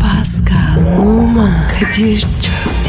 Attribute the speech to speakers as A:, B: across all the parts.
A: Pascal, Oman, Kadir çok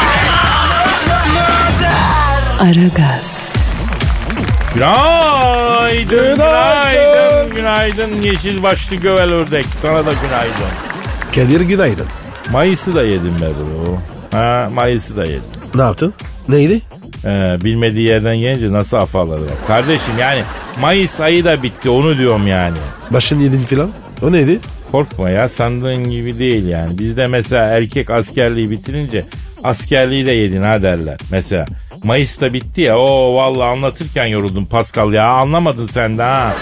A: Aragaz,
B: Günaydın, günaydın, günaydın yeşil başlı gövel ördek. Sana da günaydın.
C: Kadir günaydın.
B: Mayıs'ı da yedim be bro. Ha, Mayıs'ı da yedim.
C: Ne yaptın? Neydi?
B: Ee, bilmediği yerden gelince nasıl afalladı bak. Kardeşim yani Mayıs ayı da bitti onu diyorum yani.
C: Başın yedin filan. O neydi?
B: Korkma ya sandığın gibi değil yani. Bizde mesela erkek askerliği bitirince askerliği de yedin ha derler. Mesela Mayıs'ta bitti ya o vallahi anlatırken yoruldum Pascal ya anlamadın sen de ha.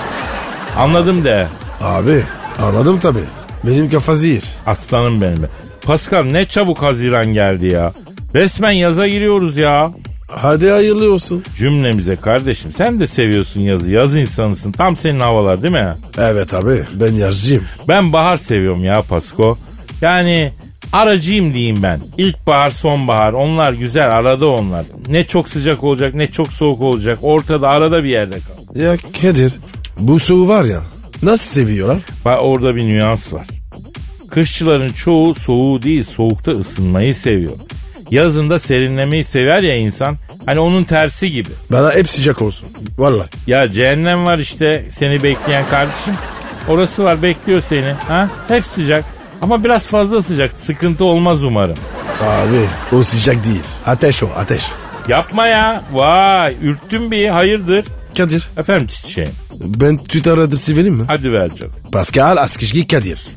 B: Anladım de.
C: Abi anladım tabi. Benim kafa zehir.
B: Aslanım benim. be. Pascal ne çabuk Haziran geldi ya. Resmen yaza giriyoruz ya.
C: Hadi hayırlı olsun.
B: Cümlemize kardeşim sen de seviyorsun yazı. Yaz insanısın. Tam senin havalar değil mi?
C: Evet abi ben yazcıyım.
B: Ben bahar seviyorum ya Pasko. Yani aracıyım diyeyim ben. İlkbahar, sonbahar onlar güzel arada onlar. Ne çok sıcak olacak ne çok soğuk olacak. Ortada arada bir yerde kal.
C: Ya Kadir bu soğuğu var ya nasıl seviyorlar?
B: Bak orada bir nüans var. Kışçıların çoğu soğuğu değil soğukta ısınmayı seviyor. Yazında serinlemeyi sever ya insan. Hani onun tersi gibi.
C: Bana hep sıcak olsun. Vallahi.
B: Ya cehennem var işte seni bekleyen kardeşim. Orası var bekliyor seni. Ha? Hep sıcak. Ama biraz fazla sıcak. Sıkıntı olmaz umarım.
C: Abi o sıcak değil. Ateş o ateş.
B: Yapma ya. Vay ürktün bir hayırdır.
C: Kadir
B: Efendim çiçeğim.
C: ben Twitter adresi vereyim mi?
B: Hadi ver canım.
C: Pascal Askizgi Kadir.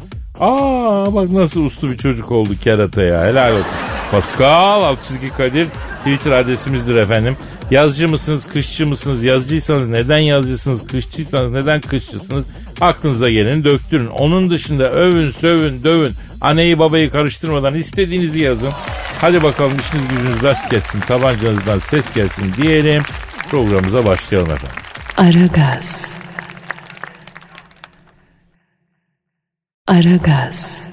B: Aa bak nasıl uslu bir çocuk oldu kerata ya helal olsun. Pascal alt çizgi Kadir Twitter adresimizdir efendim. Yazıcı mısınız, kışçı mısınız, yazıcıysanız neden yazıcısınız, kışçıysanız neden kışçısınız aklınıza geleni döktürün. Onun dışında övün, sövün, dövün. Aneyi babayı karıştırmadan istediğinizi yazın. Hadi bakalım işiniz gücünüz rast gelsin, tabancanızdan ses gelsin diyelim. Programımıza başlayalım efendim.
A: Aragaz. Aragaz,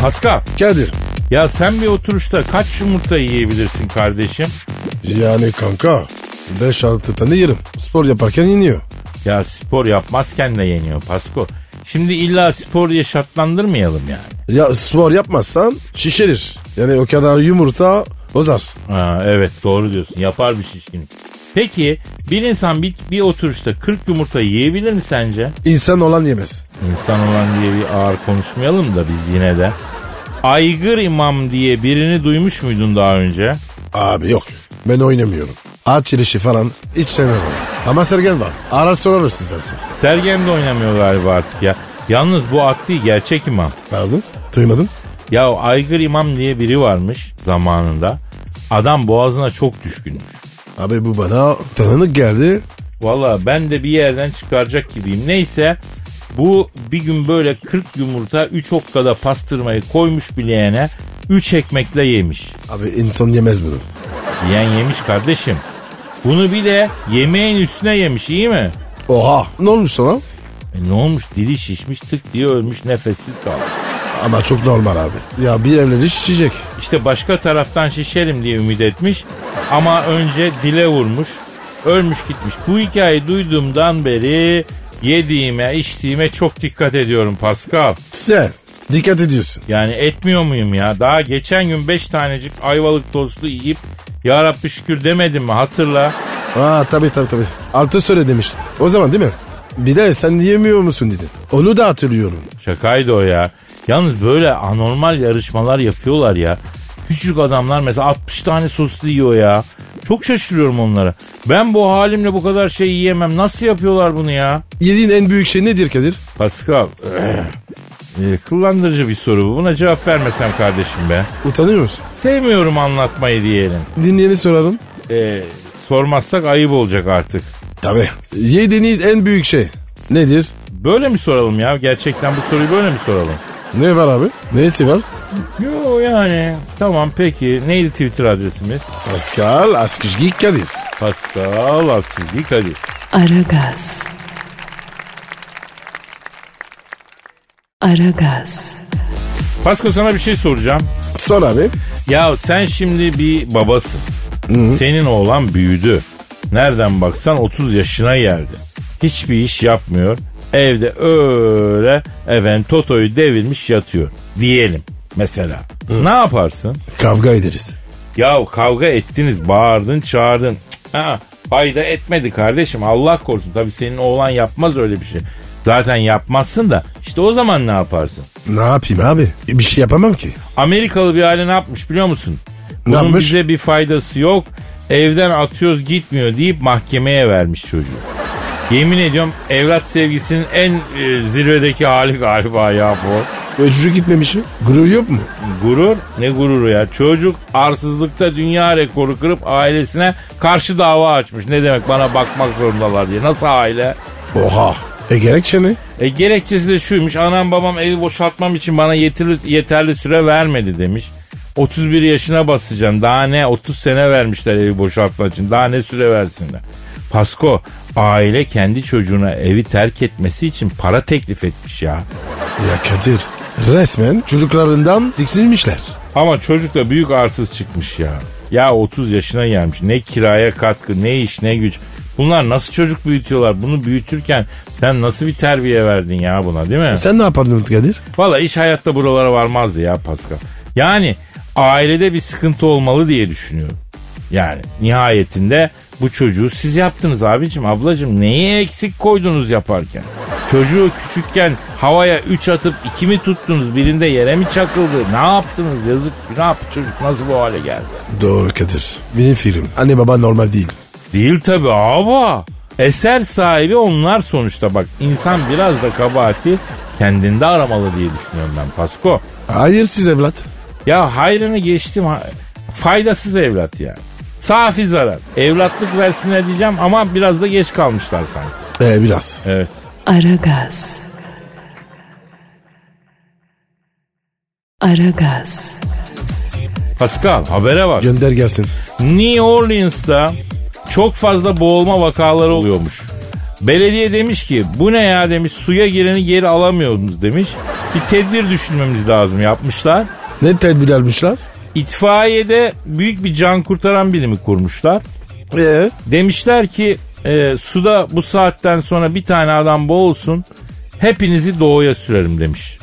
B: Pascal,
C: Kadir.
B: ya sen bir oturuşta kaç yumurta yiyebilirsin kardeşim?
C: Yani kanka 5-6 tane yerim. Spor yaparken iniyor.
B: Ya spor yapmazken de yeniyor Pasko. Şimdi illa spor diye şartlandırmayalım yani.
C: Ya spor yapmazsan şişerir. Yani o kadar yumurta bozar.
B: Ha, evet doğru diyorsun yapar bir şişkinlik. Peki bir insan bir, bir oturuşta 40 yumurta yiyebilir mi sence?
C: İnsan olan yemez.
B: İnsan olan diye bir ağır konuşmayalım da biz yine de. Aygır imam diye birini duymuş muydun daha önce?
C: Abi yok. Ben oynamıyorum. At yarışı falan hiç sevmem. onu. Ama Sergen var. Arar sorarsın sensin.
B: Sergen de oynamıyor galiba artık ya. Yalnız bu at değil gerçek imam.
C: Pardon? Duymadım.
B: Ya Aygır imam diye biri varmış zamanında. Adam boğazına çok düşkünmüş.
C: Abi bu bana tanıdık geldi.
B: Valla ben de bir yerden çıkaracak gibiyim. Neyse bu bir gün böyle 40 yumurta 3 okkada pastırmayı koymuş bileğene 3 ekmekle yemiş.
C: Abi insan yemez bunu.
B: Yiyen yemiş kardeşim. Bunu bir de yemeğin üstüne yemiş iyi mi?
C: Oha. Ne olmuş sana?
B: E ne olmuş dili şişmiş tık diye ölmüş nefessiz kalmış.
C: Ama çok normal abi. Ya bir evleri şişecek.
B: İşte başka taraftan şişerim diye ümit etmiş ama önce dile vurmuş. Ölmüş gitmiş. Bu hikayeyi duyduğumdan beri yediğime içtiğime çok dikkat ediyorum Pascal.
C: Sen dikkat ediyorsun.
B: Yani etmiyor muyum ya? Daha geçen gün 5 tanecik ayvalık tostu yiyip ya Rabbi şükür demedim mi hatırla.
C: Aa tabii tabii tabii. Altı söyle demiştin. O zaman değil mi? Bir de sen yemiyor musun dedin. Onu da hatırlıyorum.
B: Şakaydı o ya. Yalnız böyle anormal yarışmalar yapıyorlar ya. Küçük adamlar mesela 60 tane soslu yiyor ya. Çok şaşırıyorum onlara. Ben bu halimle bu kadar şey yiyemem. Nasıl yapıyorlar bunu ya?
C: Yediğin en büyük şey nedir Kadir?
B: Pascal. eh, kullandırıcı bir soru bu. Buna cevap vermesem kardeşim be.
C: Utanıyor musun?
B: Sevmiyorum anlatmayı diyelim.
C: Dinleyeni soralım.
B: Eh, sormazsak ayıp olacak artık.
C: Tabii. Yediğiniz en büyük şey nedir?
B: Böyle mi soralım ya? Gerçekten bu soruyu böyle mi soralım?
C: Ne var abi? Neyse var?
B: Yo yani. Tamam peki. Neydi Twitter adresimiz?
C: Pascal Askışgi Kadir.
B: Pascal Altçizgi Kadir.
A: Aragaz. Aragaz.
B: Pascal sana bir şey soracağım.
C: Son abi.
B: Ya sen şimdi bir babasın. Senin oğlan büyüdü. Nereden baksan 30 yaşına geldi. Hiçbir iş yapmıyor. Evde öyle efendim Toto'yu devirmiş yatıyor. Diyelim mesela. Ne yaparsın?
C: Kavga ederiz.
B: Ya kavga ettiniz, bağırdın, çağırdın. Cık, Ha, fayda etmedi kardeşim. Allah korusun. Tabii senin oğlan yapmaz öyle bir şey. Zaten yapmazsın da işte o zaman ne yaparsın?
C: Ne yapayım abi? E, Bir şey yapamam ki.
B: Amerikalı bir aile ne yapmış biliyor musun?
C: Ne
B: Bunun
C: yapmış?
B: bize bir faydası yok. Evden atıyoruz gitmiyor deyip mahkemeye vermiş çocuğu. Yemin ediyorum evlat sevgisinin en e, zirvedeki hali galiba ya bu.
C: Öcürü gitmemiş mi? Gurur yok mu?
B: Gurur ne gururu ya çocuk arsızlıkta dünya rekoru kırıp ailesine karşı dava açmış. Ne demek bana bakmak zorundalar diye. Nasıl aile?
C: Oha. E gerekçe ne?
B: E, gerekçesi de şuymuş anam babam evi boşaltmam için bana yeterli, yeterli süre vermedi demiş. 31 yaşına basacağım daha ne 30 sene vermişler evi boşaltmak için daha ne süre versinler. Pasko aile kendi çocuğuna evi terk etmesi için para teklif etmiş ya.
C: Ya Kadir resmen çocuklarından tiksinmişler.
B: Ama çocuk da büyük arsız çıkmış ya. Ya 30 yaşına gelmiş. Ne kiraya katkı, ne iş, ne güç. Bunlar nasıl çocuk büyütüyorlar? Bunu büyütürken sen nasıl bir terbiye verdin ya buna değil mi?
C: Sen ne yapardın Kadir?
B: Valla iş hayatta buralara varmazdı ya Pascal. Yani ailede bir sıkıntı olmalı diye düşünüyorum. Yani nihayetinde bu çocuğu siz yaptınız abicim ablacım neyi eksik koydunuz yaparken? Çocuğu küçükken havaya 3 atıp 2 mi tuttunuz birinde yere mi çakıldı? Ne yaptınız yazık günah çocuk nasıl bu hale geldi?
C: Doğru Kadir. Benim fikrim. Anne baba normal değil.
B: Değil tabi abi. Eser sahibi onlar sonuçta bak insan biraz da kabahati kendinde aramalı diye düşünüyorum ben Pasko.
C: Hayır siz evlat.
B: Ya hayrını geçtim. ha- Faydasız evlat ya. Safi zarar. Evlatlık versinler diyeceğim ama biraz da geç kalmışlar sanki.
C: E biraz.
B: Evet.
A: Aragaz. Aragaz.
B: Pascal habere bak.
C: Gönder gelsin.
B: New Orleans'ta çok fazla boğulma vakaları oluyormuş. Belediye demiş ki bu ne ya demiş suya gireni geri alamıyoruz demiş. Bir tedbir düşünmemiz lazım yapmışlar.
C: Ne tedbir almışlar?
B: İtfaiyede büyük bir can kurtaran birimi kurmuşlar.
C: Ee?
B: Demişler ki e, suda bu saatten sonra bir tane adam boğulsun hepinizi doğuya sürerim demiş.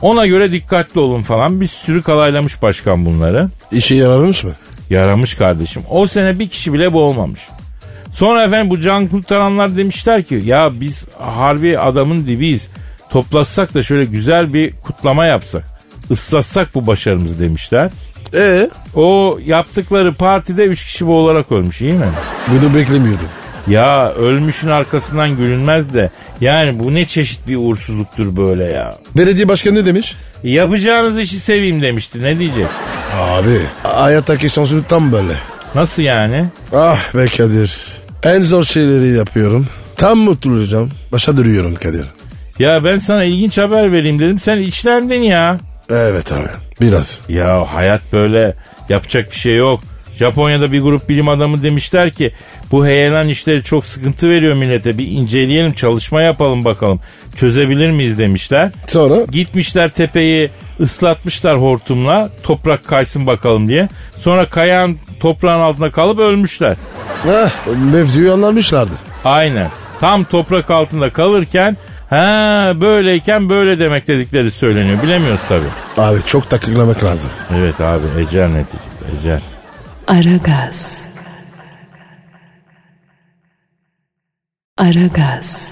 B: Ona göre dikkatli olun falan bir sürü kalaylamış başkan bunları.
C: İşe yararmış mı?
B: Yaramış kardeşim. O sene bir kişi bile boğulmamış. Sonra efendim bu can kurtaranlar demişler ki ya biz harbi adamın dibiyiz. Toplatsak da şöyle güzel bir kutlama yapsak. Islatsak bu başarımızı demişler.
C: Ee?
B: O yaptıkları partide 3 kişi boğularak ölmüş iyi mi?
C: Bunu beklemiyordum.
B: Ya ölmüşün arkasından gülünmez de yani bu ne çeşit bir uğursuzluktur böyle ya.
C: Belediye başkanı ne demiş?
B: Yapacağınız işi seveyim demişti ne diyecek?
C: Abi hayattaki şansım tam böyle.
B: Nasıl yani?
C: Ah be Kadir. En zor şeyleri yapıyorum. Tam mutlu olacağım. Başa duruyorum Kadir.
B: Ya ben sana ilginç haber vereyim dedim sen içlendin ya.
C: Evet abi. Biraz.
B: Ya hayat böyle yapacak bir şey yok. Japonya'da bir grup bilim adamı demişler ki bu heyelan işleri çok sıkıntı veriyor millete bir inceleyelim çalışma yapalım bakalım çözebilir miyiz demişler.
C: Sonra?
B: Gitmişler tepeyi ıslatmışlar hortumla toprak kaysın bakalım diye. Sonra kayan toprağın altında kalıp ölmüşler.
C: Ah, mevzuyu anlamışlardı.
B: Aynen. Tam toprak altında kalırken ha böyleyken böyle demek dedikleri söyleniyor. Bilemiyoruz tabii.
C: Abi çok takıklamak lazım.
B: Evet abi ecel neticede ecel.
A: Aragaz. Aragaz.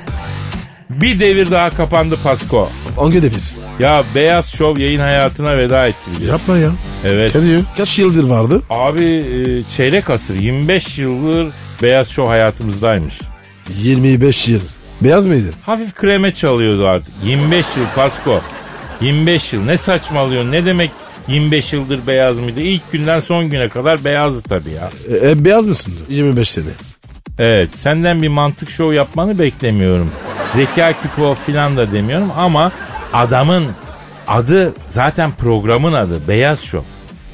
B: Bir devir daha kapandı Pasko.
C: Hangi devir?
B: Ya Beyaz Şov yayın hayatına veda etti. biliyor.
C: Yapma ya.
B: Evet.
C: Kadir kaç yıldır vardı?
B: Abi e, çeyrek asır 25 yıldır Beyaz Şov hayatımızdaymış.
C: 25 yıl. Beyaz mıydı?
B: Hafif kreme çalıyordu artık. 25 yıl Pasko. 25 yıl ne saçmalıyorsun ne demek 25 yıldır beyaz mıydı? İlk günden son güne kadar beyazdı tabii ya.
C: E, e, beyaz mısın? 25 sene.
B: Evet senden bir mantık şov yapmanı beklemiyorum. Zeka küpü o filan da demiyorum ama adamın Adı zaten programın adı Beyaz Şov.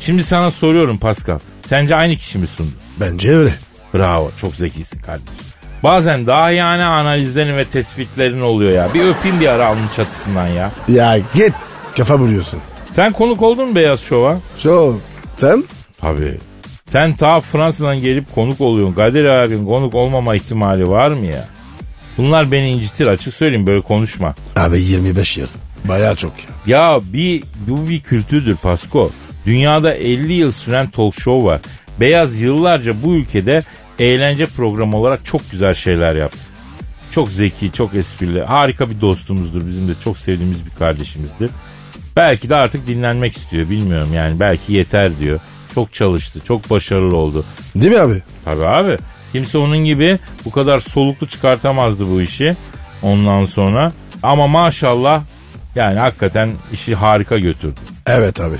B: Şimdi sana soruyorum Pascal. Sence aynı kişi mi sundu?
C: Bence öyle.
B: Bravo çok zekisin kardeşim. Bazen daha yani analizlerin ve tespitlerin oluyor ya. Bir öpeyim bir ara alnın çatısından ya.
C: Ya git kafa buluyorsun.
B: Sen konuk oldun mu Beyaz Şov'a?
C: Çok. Sen?
B: Tabii. Sen ta Fransa'dan gelip konuk oluyorsun. Kadir abim konuk olmama ihtimali var mı ya? Bunlar beni incitir açık söyleyeyim böyle konuşma.
C: Abi 25 yıl. Bayağı çok ya.
B: Ya bir bu bir kültürdür Pasko. Dünyada 50 yıl süren talk show var. Beyaz yıllarca bu ülkede eğlence programı olarak çok güzel şeyler yaptı. Çok zeki, çok esprili, harika bir dostumuzdur. Bizim de çok sevdiğimiz bir kardeşimizdir. Belki de artık dinlenmek istiyor bilmiyorum yani. Belki yeter diyor. Çok çalıştı, çok başarılı oldu.
C: Değil mi abi?
B: Tabii abi. Kimse onun gibi bu kadar soluklu çıkartamazdı bu işi ondan sonra. Ama maşallah yani hakikaten işi harika götürdü.
C: Evet abi.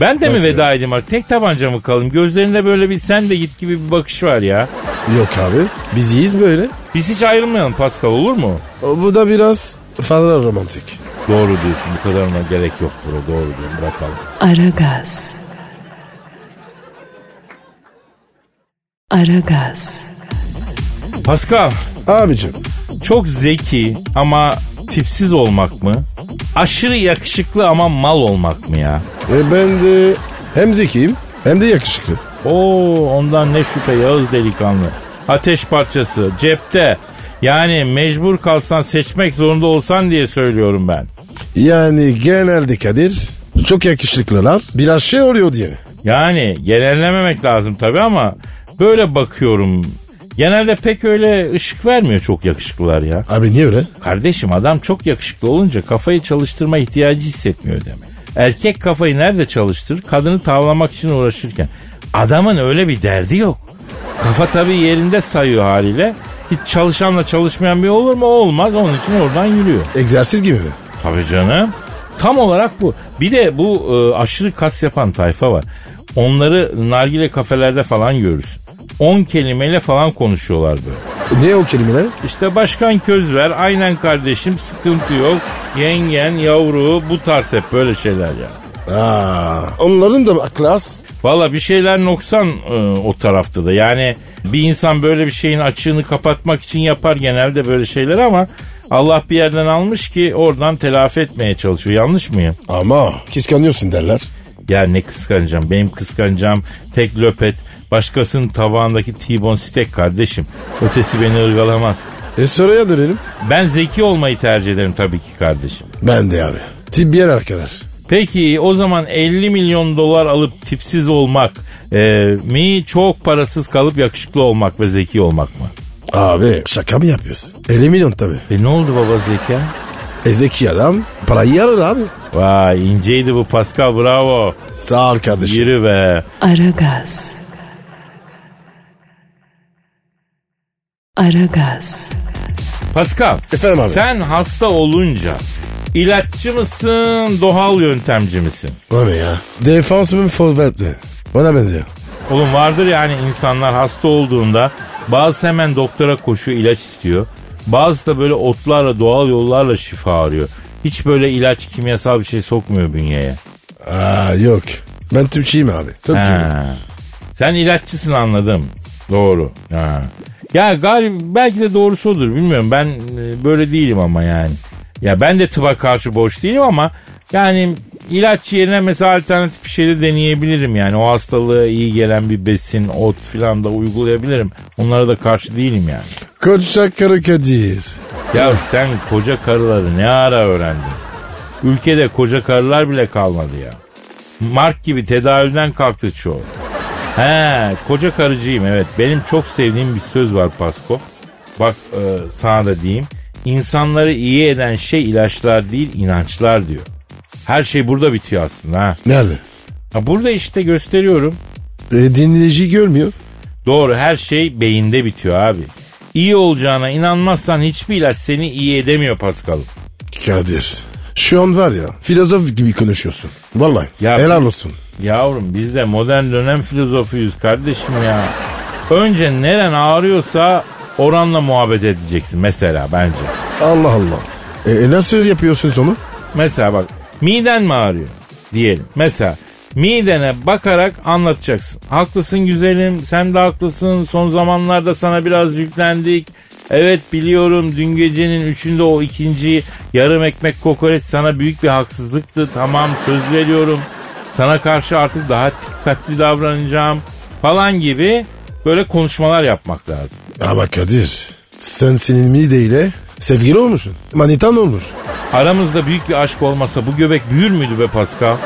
B: Ben de mi
C: Nasıl
B: veda edeyim artık? Tek tabanca mı kalayım? Gözlerinde böyle bir sen de git gibi bir bakış var ya.
C: Yok abi. Biz iyiyiz böyle.
B: Biz hiç ayrılmayalım Pascal olur mu?
C: O, bu da biraz fazla romantik.
B: Doğru diyorsun bu kadarına gerek yok bro doğru diyorsun bırakalım.
A: Aragaz. Aragaz.
B: Pascal
C: Abicim.
B: çok zeki ama tipsiz olmak mı? Aşırı yakışıklı ama mal olmak mı ya?
C: E ben de hem zekiyim hem de yakışıklı.
B: Oo ondan ne şüphe Yağız delikanlı. Ateş parçası cepte. Yani mecbur kalsan seçmek zorunda olsan diye söylüyorum ben.
C: Yani genelde Kadir çok yakışıklılar biraz şey oluyor diye.
B: Yani genellememek lazım tabii ama böyle bakıyorum. Genelde pek öyle ışık vermiyor çok yakışıklılar ya.
C: Abi niye öyle?
B: Kardeşim adam çok yakışıklı olunca kafayı çalıştırma ihtiyacı hissetmiyor demek. Erkek kafayı nerede çalıştırır? Kadını tavlamak için uğraşırken. Adamın öyle bir derdi yok. Kafa tabii yerinde sayıyor haliyle. Hiç çalışanla çalışmayan bir olur mu? Olmaz. Onun için oradan yürüyor.
C: Egzersiz gibi mi?
B: Tabii canım. Tam olarak bu. Bir de bu e, aşırı kas yapan tayfa var. Onları nargile kafelerde falan görürsün. 10 kelimeyle falan konuşuyorlar böyle.
C: Ne o kelimeler?
B: İşte başkan közler, aynen kardeşim sıkıntı yok. Yengen, yavru bu tarz hep böyle şeyler ya.
C: Aa, onların da aklı az.
B: Valla bir şeyler noksan e, o tarafta da. Yani bir insan böyle bir şeyin açığını kapatmak için yapar genelde böyle şeyler ama Allah bir yerden almış ki oradan telafi etmeye çalışıyor. Yanlış mıyım?
C: Ama kıskanıyorsun derler.
B: Ya ne kıskanacağım? Benim kıskanacağım tek löpet. Başkasının tabağındaki T-bone steak kardeşim. Ötesi beni ırgalamaz.
C: E soruya dönelim.
B: Ben zeki olmayı tercih ederim tabii ki kardeşim.
C: Ben de abi. Tip bir yer kadar.
B: Peki o zaman 50 milyon dolar alıp tipsiz olmak e, mi çok parasız kalıp yakışıklı olmak ve zeki olmak mı?
C: Abi şaka mı yapıyorsun? 50 milyon tabii.
B: E ne oldu baba zeka?
C: E zeki adam parayı yarar abi.
B: Vay inceydi bu Pascal bravo.
C: Sağ ol kardeşim.
B: Yürü be.
A: Aragaz. Aragaz.
B: Pascal.
C: Efendim abi.
B: Sen hasta olunca ilaççı mısın doğal yöntemci misin?
C: O ne ya? Defans mı forvet mi? Ona benziyor.
B: Oğlum vardır yani insanlar hasta olduğunda bazı hemen doktora koşuyor ilaç istiyor. Bazısı da böyle otlarla doğal yollarla şifa arıyor. Hiç böyle ilaç kimyasal bir şey sokmuyor bünyeye.
C: Aa yok. Ben tipçiyim abi. Çok iyi.
B: Ha. Sen ilaççısın anladım. Doğru. Ha. Ya galip belki de doğrusu odur bilmiyorum. Ben e, böyle değilim ama yani. Ya ben de tıba karşı boş değilim ama yani ilaç yerine mesela alternatif bir şey de deneyebilirim yani. O hastalığa iyi gelen bir besin, ot filan da uygulayabilirim. Onlara da karşı değilim yani.
C: Koçak karı Kadir.
B: Ya sen koca karıları ne ara öğrendin? Ülkede koca karılar bile kalmadı ya. Mark gibi tedavülden kalktı çoğu. He koca karıcıyım evet. Benim çok sevdiğim bir söz var Pasko. Bak e, sana da diyeyim. İnsanları iyi eden şey ilaçlar değil inançlar diyor. Her şey burada bitiyor aslında ha.
C: Nerede?
B: Ha, Burada işte gösteriyorum.
C: E, dinleyici görmüyor.
B: Doğru her şey beyinde bitiyor abi. İyi olacağına inanmazsan hiçbir ilaç seni iyi edemiyor Paskal'ım.
C: Kadir. Şu an var ya filozof gibi konuşuyorsun. Vallahi.
B: Ya-
C: helal olsun.
B: Yavrum biz de modern dönem filozofuyuz kardeşim ya. Önce neren ağrıyorsa oranla muhabbet edeceksin mesela bence.
C: Allah Allah. E, e, nasıl yapıyorsunuz onu?
B: Mesela bak Miden mi ağrıyor? Diyelim. Mesela midene bakarak anlatacaksın. Haklısın güzelim, sen de haklısın. Son zamanlarda sana biraz yüklendik. Evet biliyorum dün gecenin üçünde o ikinci yarım ekmek kokoreç sana büyük bir haksızlıktı. Tamam söz veriyorum. Sana karşı artık daha dikkatli davranacağım falan gibi böyle konuşmalar yapmak lazım.
C: Ama Kadir sen senin mideyle sevgili olmuşsun. Manitan olmuş.
B: Aramızda büyük bir aşk olmasa bu göbek büyür müydü be Pascal?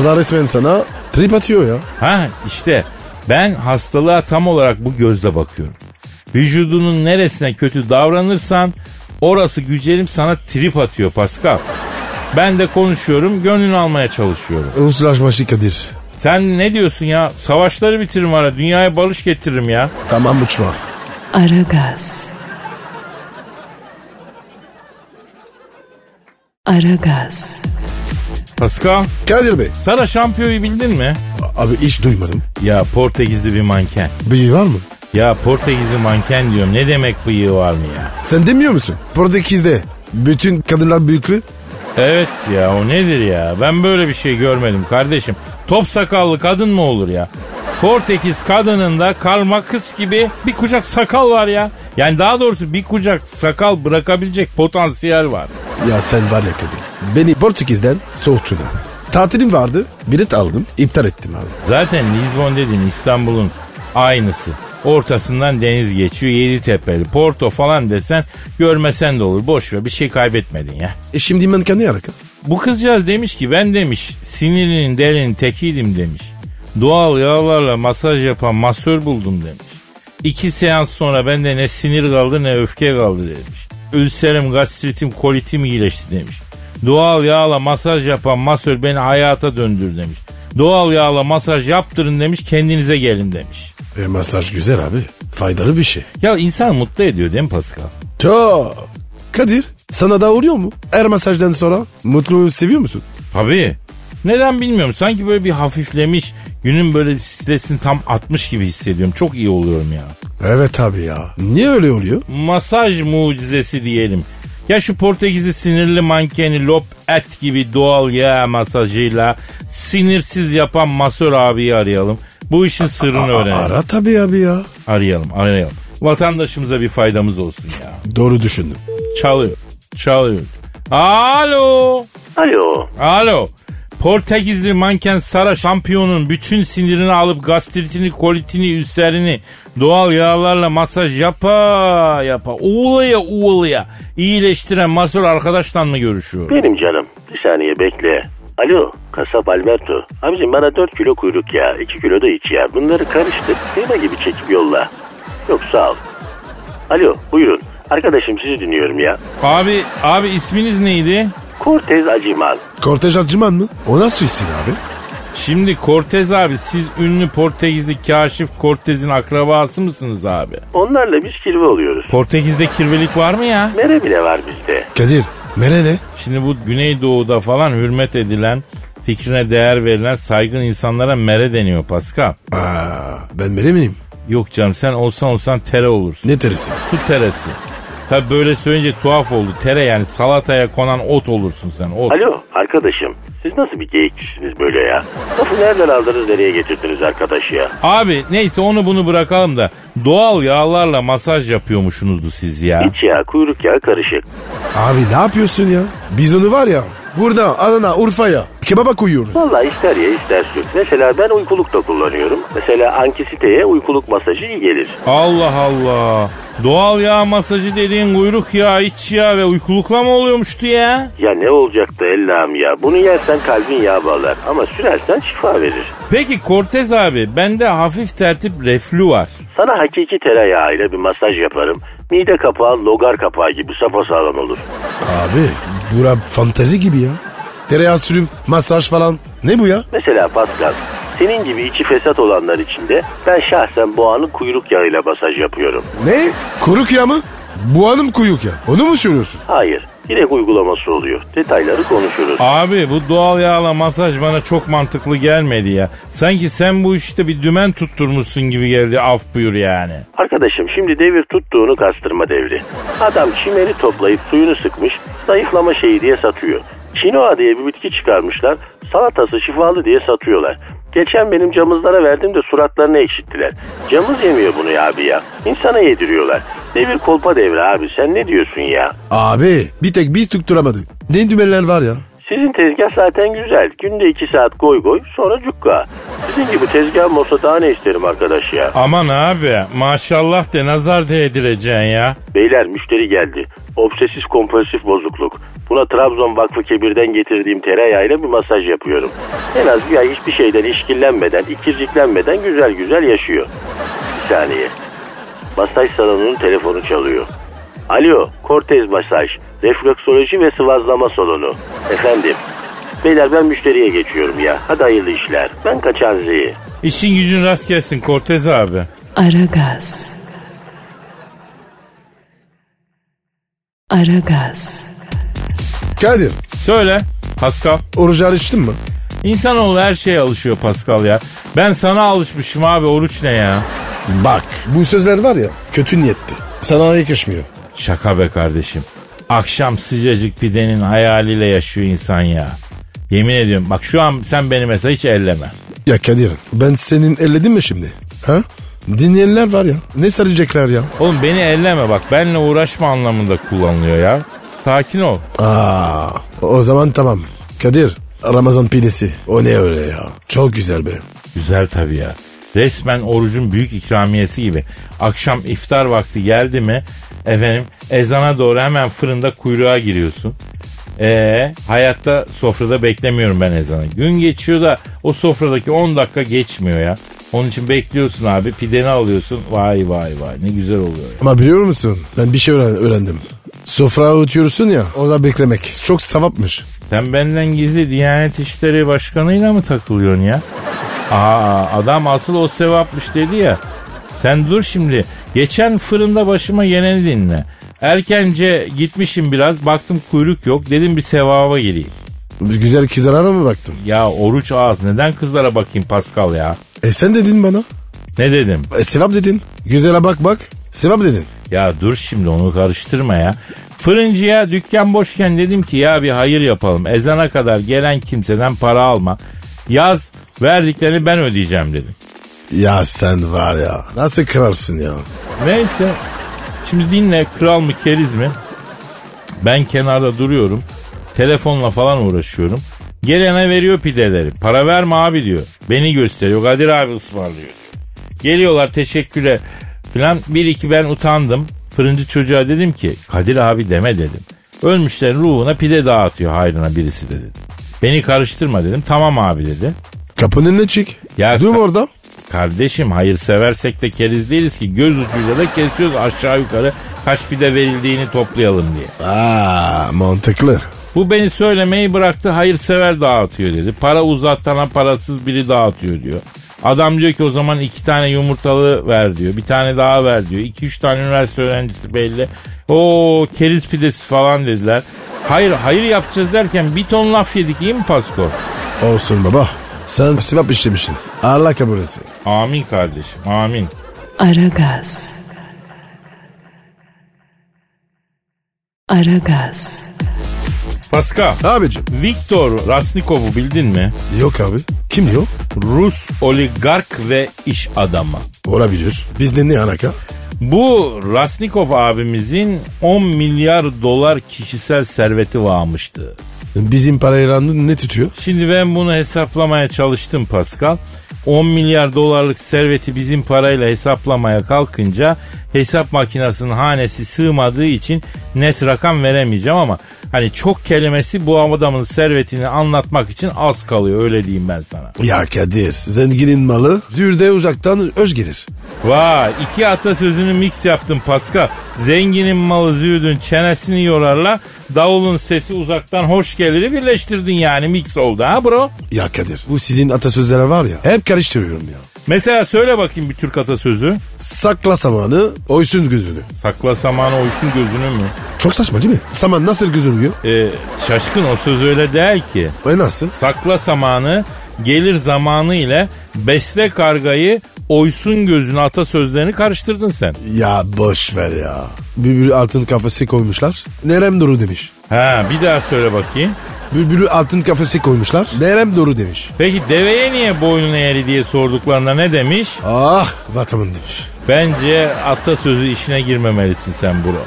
C: O da resmen sana trip atıyor ya.
B: Ha işte ben hastalığa tam olarak bu gözle bakıyorum. Vücudunun neresine kötü davranırsan orası gücelim sana trip atıyor Pascal. Ben de konuşuyorum gönlünü almaya çalışıyorum.
C: Uluslaşmaşı Kadir.
B: Sen ne diyorsun ya? Savaşları bitiririm ara dünyaya barış getiririm ya.
C: Tamam uçma.
A: Aragaz. Aragaz.
B: Pascal
C: Kadir Bey.
B: sana şampiyoyu bildin mi?
C: Abi hiç duymadım.
B: Ya Portekizli bir manken.
C: Bıyığı var mı?
B: Ya Portekizli manken diyorum ne demek bıyığı var mı ya?
C: Sen demiyor musun? Portekiz'de bütün kadınlar büyüklü.
B: Evet ya o nedir ya? Ben böyle bir şey görmedim kardeşim. Top sakallı kadın mı olur ya? Portekiz kadınında Karl Marx gibi bir kucak sakal var ya. Yani daha doğrusu bir kucak sakal bırakabilecek potansiyel var.
C: Ya sen var ya Kadir. Beni Portekiz'den soğuttun abi. Tatilim vardı. Bilet aldım. iptal ettim abi.
B: Zaten Lisbon dediğin İstanbul'un aynısı. Ortasından deniz geçiyor yedi tepeli. Porto falan desen görmesen de olur. Boş ver bir şey kaybetmedin ya.
C: E şimdi manken ne alaka?
B: Bu kızcağız demiş ki ben demiş sinirinin delinin tekiydim demiş. Doğal yağlarla masaj yapan masör buldum demiş. İki seans sonra bende ne sinir kaldı ne öfke kaldı demiş. Ülserim, gastritim, kolitim iyileşti demiş. Doğal yağla masaj yapan masör beni hayata döndür demiş. Doğal yağla masaj yaptırın demiş kendinize gelin demiş.
C: E masaj güzel abi. Faydalı bir şey.
B: Ya insan mutlu ediyor değil mi Pascal?
C: Ya Kadir sana da oluyor mu? Her masajdan sonra mutlu seviyor musun?
B: Tabii. Neden bilmiyorum. Sanki böyle bir hafiflemiş, günün böyle bir stresini tam atmış gibi hissediyorum. Çok iyi oluyorum ya.
C: Evet abi ya. Niye öyle oluyor?
B: Masaj mucizesi diyelim. Ya şu Portekizli sinirli mankeni lop et gibi doğal yağ masajıyla sinirsiz yapan masör abiyi arayalım. Bu işin sırrını öğrenelim.
C: Ara tabii abi ya.
B: Arayalım, arayalım. Vatandaşımıza bir faydamız olsun ya.
C: Doğru düşündüm.
B: Çalıyor, çalıyor. Alo.
D: Alo.
B: Alo. Portekizli manken Sara şampiyonun bütün sinirini alıp gastritini, kolitini, ülserini doğal yağlarla masaj yapa yapa uğulaya uğulaya iyileştiren masör arkadaştan mı görüşüyor?
D: Benim canım. Bir saniye bekle. Alo. Kasap Alberto. Abicim bana 4 kilo kuyruk ya. 2 kilo da iç ya. Bunları karıştır. Kıyma gibi çekip yolla. Yok sağ ol. Alo. Buyurun. Arkadaşım sizi dinliyorum ya.
B: Abi, abi isminiz neydi?
D: Cortez Acimal.
C: Kortej Acıman mı? O nasıl isim abi?
B: Şimdi Cortez abi siz ünlü Portekizli Kaşif Cortez'in akrabası mısınız abi?
D: Onlarla biz kirve oluyoruz.
B: Portekiz'de kirvelik var mı ya?
D: Mere bile var bizde.
C: Kadir. Mere ne?
B: Şimdi bu Güneydoğu'da falan hürmet edilen, fikrine değer verilen saygın insanlara mere deniyor Pascal.
C: Aa, ben mere miyim?
B: Yok canım sen olsan olsan tere olursun.
C: Ne terisi?
B: Su teresi. Tabi böyle söyleyince tuhaf oldu. Tere yani salataya konan ot olursun sen. Ot.
D: Alo arkadaşım siz nasıl bir geyikçisiniz böyle ya? Lafı nereden aldınız nereye getirdiniz arkadaş ya?
B: Abi neyse onu bunu bırakalım da doğal yağlarla masaj yapıyormuşsunuzdu siz ya.
D: İç ya kuyruk ya karışık.
C: Abi ne yapıyorsun ya? Biz onu var ya burada Adana Urfa'ya kebaba koyuyoruz.
D: Vallahi ister ye ister sür. Mesela ben uykuluk da kullanıyorum. Mesela ankisiteye uykuluk masajı iyi gelir.
B: Allah Allah. Doğal yağ masajı dediğin kuyruk yağı, iç yağı ve uykulukla mı oluyormuştu ya?
D: Ya ne olacaktı Ellam ya? Bunu yersen kalbin yağ bağlar ama sürersen şifa verir.
B: Peki Cortez abi bende hafif tertip reflü var.
D: Sana hakiki tereyağı ile bir masaj yaparım. Mide kapağı logar kapağı gibi sapasağlam olur.
C: Abi bura fantezi gibi ya. Tereyağı sürüm, masaj falan. Ne bu ya?
D: Mesela Pascal, senin gibi içi fesat olanlar için de ben şahsen boğanın kuyruk yağıyla masaj yapıyorum.
C: Ne? Kuruk ya mı? Bu hanım kuyuk ya. Onu mu söylüyorsun?
D: Hayır, direkt uygulaması oluyor. Detayları konuşuruz.
B: Abi bu doğal yağla masaj bana çok mantıklı gelmedi ya. Sanki sen bu işte bir dümen tutturmuşsun gibi geldi af buyur yani.
D: Arkadaşım şimdi devir tuttuğunu kastırma devri. Adam çimeri toplayıp suyunu sıkmış, zayıflama şeyi diye satıyor. Çinoa diye bir bitki çıkarmışlar. Salatası şifalı diye satıyorlar. Geçen benim camızlara verdim de suratlarını ekşittiler. Camız yemiyor bunu ya abi ya. İnsana yediriyorlar. Devir kolpa devri abi sen ne diyorsun ya?
C: Abi bir tek biz tutturamadık. Ne dümenler var ya.
D: Sizin tezgah zaten güzel. Günde iki saat goy goy sonra cukka. Sizin gibi tezgah olsa daha ne isterim arkadaş ya?
B: Aman abi maşallah de nazar değdireceksin ya.
D: Beyler müşteri geldi. Obsesif kompulsif bozukluk. Buna Trabzon Vakfı Kebir'den getirdiğim tereyağıyla bir masaj yapıyorum. En az bir ay hiçbir şeyden işkillenmeden, ikirciklenmeden güzel güzel yaşıyor. Bir saniye. Masaj salonunun telefonu çalıyor. Alo, Cortez Masaj, Refleksoloji ve Sıvazlama Salonu. Efendim, beyler ben müşteriye geçiyorum ya. Hadi hayırlı işler. Ben kaçan Z'yi.
B: İşin gücün rast gelsin Cortez abi.
A: Aragaz. Aragaz.
C: Kadir
B: Söyle Pascal.
C: orucu açtın mı?
B: İnsanoğlu her şeye alışıyor Pascal ya. Ben sana alışmışım abi oruç ne ya?
C: Bak bu sözler var ya kötü niyetli. Sana yakışmıyor.
B: Şaka be kardeşim. Akşam sıcacık pidenin hayaliyle yaşıyor insan ya. Yemin ediyorum bak şu an sen beni mesela hiç elleme.
C: Ya Kadir ben senin elledim mi şimdi? Ha? Dinleyenler var ya ne saracaklar ya.
B: Oğlum beni elleme bak benle uğraşma anlamında kullanılıyor ya. Sakin ol.
C: Aa, o zaman tamam. Kadir Ramazan pidesi o ne öyle ya. Çok güzel be.
B: Güzel tabii ya. Resmen orucun büyük ikramiyesi gibi. Akşam iftar vakti geldi mi efendim ezana doğru hemen fırında kuyruğa giriyorsun. Ee, hayatta sofrada beklemiyorum ben ezanı. Gün geçiyor da o sofradaki 10 dakika geçmiyor ya. Onun için bekliyorsun abi pideni alıyorsun. Vay vay vay ne güzel oluyor ya.
C: Ama biliyor musun ben bir şey öğren- öğrendim. Sofraya oturuyorsun ya orada beklemek çok savapmış.
B: Sen benden gizli Diyanet İşleri Başkanı'yla mı takılıyorsun ya? Aa adam asıl o sevapmış dedi ya. Sen dur şimdi. Geçen fırında başıma geleni dinle. Erkence gitmişim biraz baktım kuyruk yok dedim bir sevaba gireyim.
C: Güzel kızlara mı baktım?
B: Ya oruç ağız neden kızlara bakayım Pascal ya?
C: E sen dedin bana.
B: Ne dedim?
C: E, sevap dedin. Güzele bak bak. Sevap dedin.
B: Ya dur şimdi onu karıştırma ya. Fırıncıya dükkan boşken dedim ki ya bir hayır yapalım. Ezana kadar gelen kimseden para alma. Yaz verdiklerini ben ödeyeceğim dedim.
C: Ya sen var ya. Nasıl kırarsın ya?
B: Neyse. Şimdi dinle kral mı keriz mi? Ben kenarda duruyorum. Telefonla falan uğraşıyorum. Gelene veriyor pideleri. Para verme abi diyor. Beni gösteriyor. Kadir abi ısmarlıyor. Geliyorlar teşekküre filan. Bir iki ben utandım. Fırıncı çocuğa dedim ki Kadir abi deme dedim. Ölmüşlerin ruhuna pide dağıtıyor hayrına birisi de dedim. Beni karıştırma dedim. Tamam abi dedi.
C: Kapının önüne çık.
B: Ya-
C: Dur orada.
B: Kardeşim hayırseversek de keriz değiliz ki göz ucuyla da kesiyoruz aşağı yukarı kaç pide verildiğini toplayalım diye.
C: Aa mantıklı.
B: Bu beni söylemeyi bıraktı hayırsever dağıtıyor dedi. Para uzatana parasız biri dağıtıyor diyor. Adam diyor ki o zaman iki tane yumurtalı ver diyor. Bir tane daha ver diyor. İki üç tane üniversite öğrencisi belli. O keriz pidesi falan dediler. Hayır hayır yapacağız derken bir ton laf yedik iyi mi Pasko?
C: Olsun baba. Sen sevap işlemişsin. Allah kabul etsin.
B: Amin kardeşim amin.
A: Aragaz. Aragaz.
B: Paska
C: Abicim.
B: Viktor Rasnikov'u bildin mi?
C: Yok abi. Kim yok?
B: Rus oligark ve iş adamı.
C: Olabilir. Bizde ne alaka?
B: Bu Rasnikov abimizin 10 milyar dolar kişisel serveti varmıştı.
C: Bizim parayla ne tutuyor?
B: Şimdi ben bunu hesaplamaya çalıştım Pascal. 10 milyar dolarlık serveti bizim parayla hesaplamaya kalkınca hesap makinesinin hanesi sığmadığı için net rakam veremeyeceğim ama hani çok kelimesi bu adamın servetini anlatmak için az kalıyor öyle diyeyim ben sana.
C: Ya Kadir. Zenginin malı zürde uzaktan öz gelir.
B: Vay iki atasözünü mix yaptım Pascal. Zenginin malı züğüdün çenesini yorarla davulun sesi uzaktan hoş geliri birleştirdin yani mix oldu ha bro.
C: Ya Kadir. Bu sizin atasözlere var ya. Hep karıştırıyorum ya.
B: Mesela söyle bakayım bir Türk atasözü.
C: Sakla samanı oysun gözünü.
B: Sakla samanı oysun gözünü mü?
C: Çok saçma değil mi? Saman nasıl gözünüyor?
B: Ee, şaşkın o söz öyle değil ki.
C: Ve nasıl?
B: Sakla samanı gelir zamanı ile besle kargayı oysun gözünü atasözlerini karıştırdın sen.
C: Ya boş ver ya. Bir, bir altın kafesi koymuşlar. Nerem duru demiş.
B: Ha bir daha söyle bakayım.
C: Bülbülü altın kafese koymuşlar. Derem doğru demiş.
B: Peki deveye niye boynun eğri diye sorduklarında ne demiş?
C: Ah vatamın demiş.
B: Bence atasözü işine girmemelisin sen bro.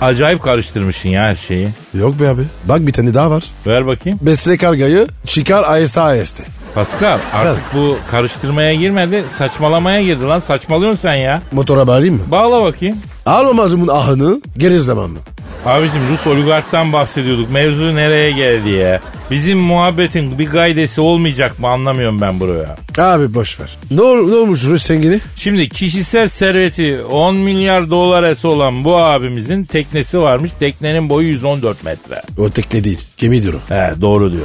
B: Acayip karıştırmışsın ya her şeyi.
C: Yok be abi. Bak bir tane daha var.
B: Ver bakayım.
C: Besle kargayı çıkar ayeste ayeste.
B: Pascal artık bu karıştırmaya girmedi saçmalamaya girdi lan saçmalıyorsun sen ya.
C: Motora bağlayayım mı?
B: Bağla bakayım.
C: Almamacımın ahını gelir zamanlı.
B: Abicim Rus oligarktan bahsediyorduk. Mevzu nereye geldi ya? Bizim muhabbetin bir gaydesi olmayacak mı anlamıyorum ben buraya.
C: Abi boş ver. Ne, ol- ne olmuş Rus zengini?
B: Şimdi kişisel serveti 10 milyar dolar es olan bu abimizin teknesi varmış. Teknenin boyu 114 metre.
C: O tekne değil. Gemidir o.
B: He doğru diyor.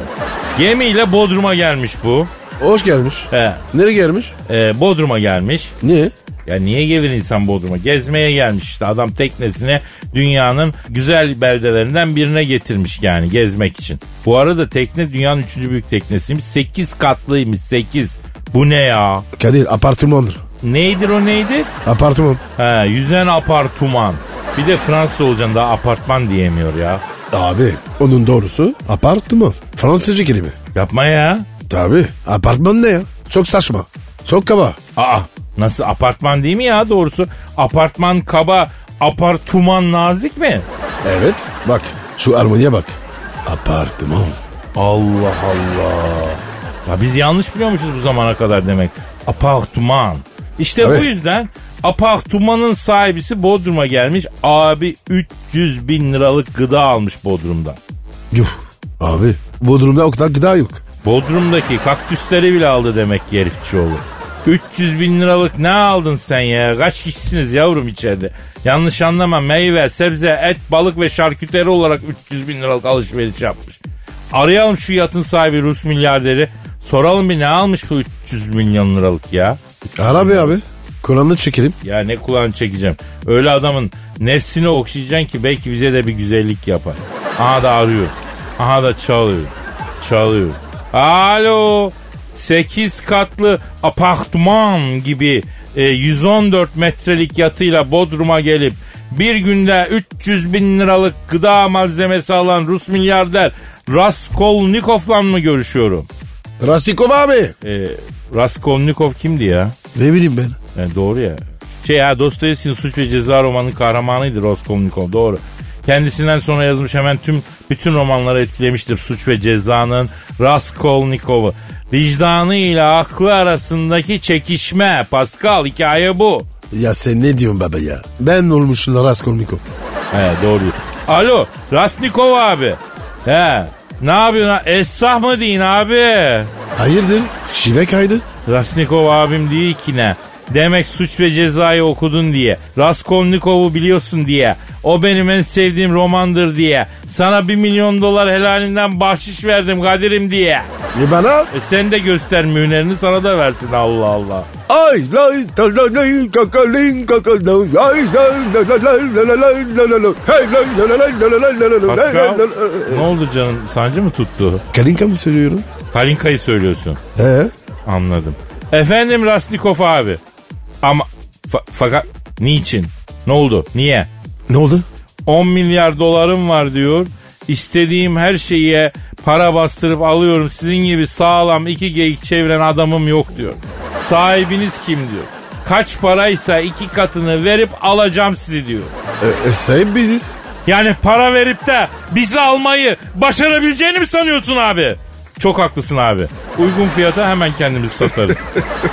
B: Gemiyle Bodrum'a gelmiş bu.
C: Hoş gelmiş.
B: He
C: Nereye gelmiş?
B: e, Bodrum'a gelmiş.
C: Niye?
B: Ya niye gelir insan Bodrum'a? Gezmeye gelmiş işte adam teknesini dünyanın güzel beldelerinden birine getirmiş yani gezmek için. Bu arada tekne dünyanın üçüncü büyük teknesiymiş. 8 katlıymış 8. Bu ne ya?
C: Kadir apartmandır.
B: Neydir o neydi?
C: Apartman.
B: He, yüzen apartman. Bir de Fransız olacaksın daha apartman diyemiyor ya.
C: Abi onun doğrusu apartman. Fransızca kelime.
B: Yapma ya.
C: Tabi. Apartman ne ya? Çok saçma. Çok kaba.
B: Aa nasıl apartman değil mi ya doğrusu? Apartman kaba, apartman nazik mi?
C: Evet. Bak şu armoniye bak. Apartman.
B: Allah Allah. Ya biz yanlış biliyormuşuz bu zamana kadar demek. Apartman. İşte
C: Tabii.
B: bu yüzden apartmanın sahibisi Bodrum'a gelmiş. Abi 300 bin liralık gıda almış Bodrum'dan.
C: Yuh. Abi Bodrum'da o kadar gıda yok.
B: Bodrum'daki kaktüsleri bile aldı demek ki herifçioğlu. 300 bin liralık ne aldın sen ya? Kaç kişisiniz yavrum içeride? Yanlış anlama meyve, sebze, et, balık ve şarküteri olarak 300 bin liralık alışveriş yapmış. Arayalım şu yatın sahibi Rus milyarderi. Soralım bir ne almış bu 300 milyon liralık ya?
C: Ara be abi. Kur'an'ı çekelim.
B: Ya ne kulağını çekeceğim. Öyle adamın nefsini okşayacaksın ki belki bize de bir güzellik yapar. Aha da arıyor. Aha da çalıyor. Çalıyor. Alo. 8 katlı apartman gibi e, 114 metrelik yatıyla Bodrum'a gelip bir günde 300 bin liralık gıda malzemesi alan Rus milyarder Raskolnikov'la mı görüşüyorum?
C: Rastikov abi.
B: E, Raskolnikov kimdi ya?
C: Ne bileyim ben.
B: Yani E, doğru ya. Şey ya Dostoyevski'nin Suç ve Ceza romanının kahramanıydı Raskolnikov doğru. Kendisinden sonra yazmış hemen tüm bütün romanları etkilemiştir Suç ve Ceza'nın Raskolnikov'u. Vicdanı ile aklı arasındaki çekişme Pascal hikaye bu.
C: Ya sen ne diyorsun baba ya? Ben olmuşum Raskolnikov.
B: He doğru. Alo Raskolnikov abi. He ne yapıyorsun? ha? Esrah mı deyin abi?
C: Hayırdır? Şive kaydı.
B: Raskolnikov abim değil ki ne. Demek suç ve cezayı okudun diye. Raskolnikov'u biliyorsun diye. O benim en sevdiğim romandır diye. Sana bir milyon dolar helalinden bahşiş verdim Kadir'im diye.
C: E bana?
B: E sen de göster mühnerini sana da versin Allah Allah.
C: Ay lay ta lay lay kakalin kakalin ay lay lay lay lay lay lay lay lay lay hey lay lay lay lay lay lay lay lay lay lay
B: Pascal
C: lay lay
B: ne oldu canım sancı mı tuttu?
C: Kalinka mı söylüyorum?
B: Kalinka'yı söylüyorsun.
C: He.
B: Anladım. Efendim Raskolnikov abi. Ama fa- fakat niçin? Ne oldu? Niye?
C: Ne oldu?
B: 10 milyar dolarım var diyor. İstediğim her şeye para bastırıp alıyorum. Sizin gibi sağlam iki geyik çeviren adamım yok diyor. Sahibiniz kim diyor. Kaç paraysa iki katını verip alacağım sizi diyor.
C: E, e, sahip biziz.
B: Yani para verip de bizi almayı başarabileceğini mi sanıyorsun abi? Çok haklısın abi. Uygun fiyata hemen kendimizi satarız.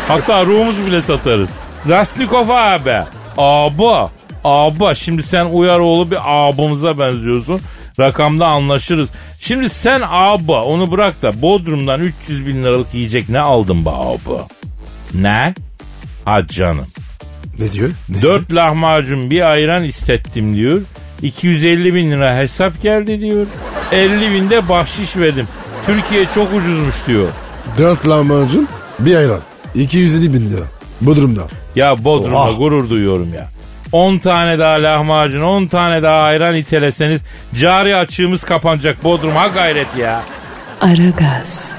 B: Hatta ruhumuzu bile satarız. Rasnikov abi. Aba. Aba. Şimdi sen Uyaroğlu bir abamıza benziyorsun. Rakamda anlaşırız. Şimdi sen aba onu bırak da Bodrum'dan 300 bin liralık yiyecek ne aldın be aba? Ne? Ha canım.
C: Ne diyor? Ne?
B: 4 lahmacun bir ayran istettim diyor. 250 bin lira hesap geldi diyor. 50 bin de bahşiş verdim. Türkiye çok ucuzmuş diyor.
C: Dört lahmacun bir ayran. 250 bin lira. Bu durumda.
B: Ya Bodrum'a
C: Oha.
B: gurur duyuyorum ya. 10 tane daha lahmacun, 10 tane daha ayran iteleseniz cari açığımız kapanacak Bodrum. Ha gayret ya.
A: Aragaz.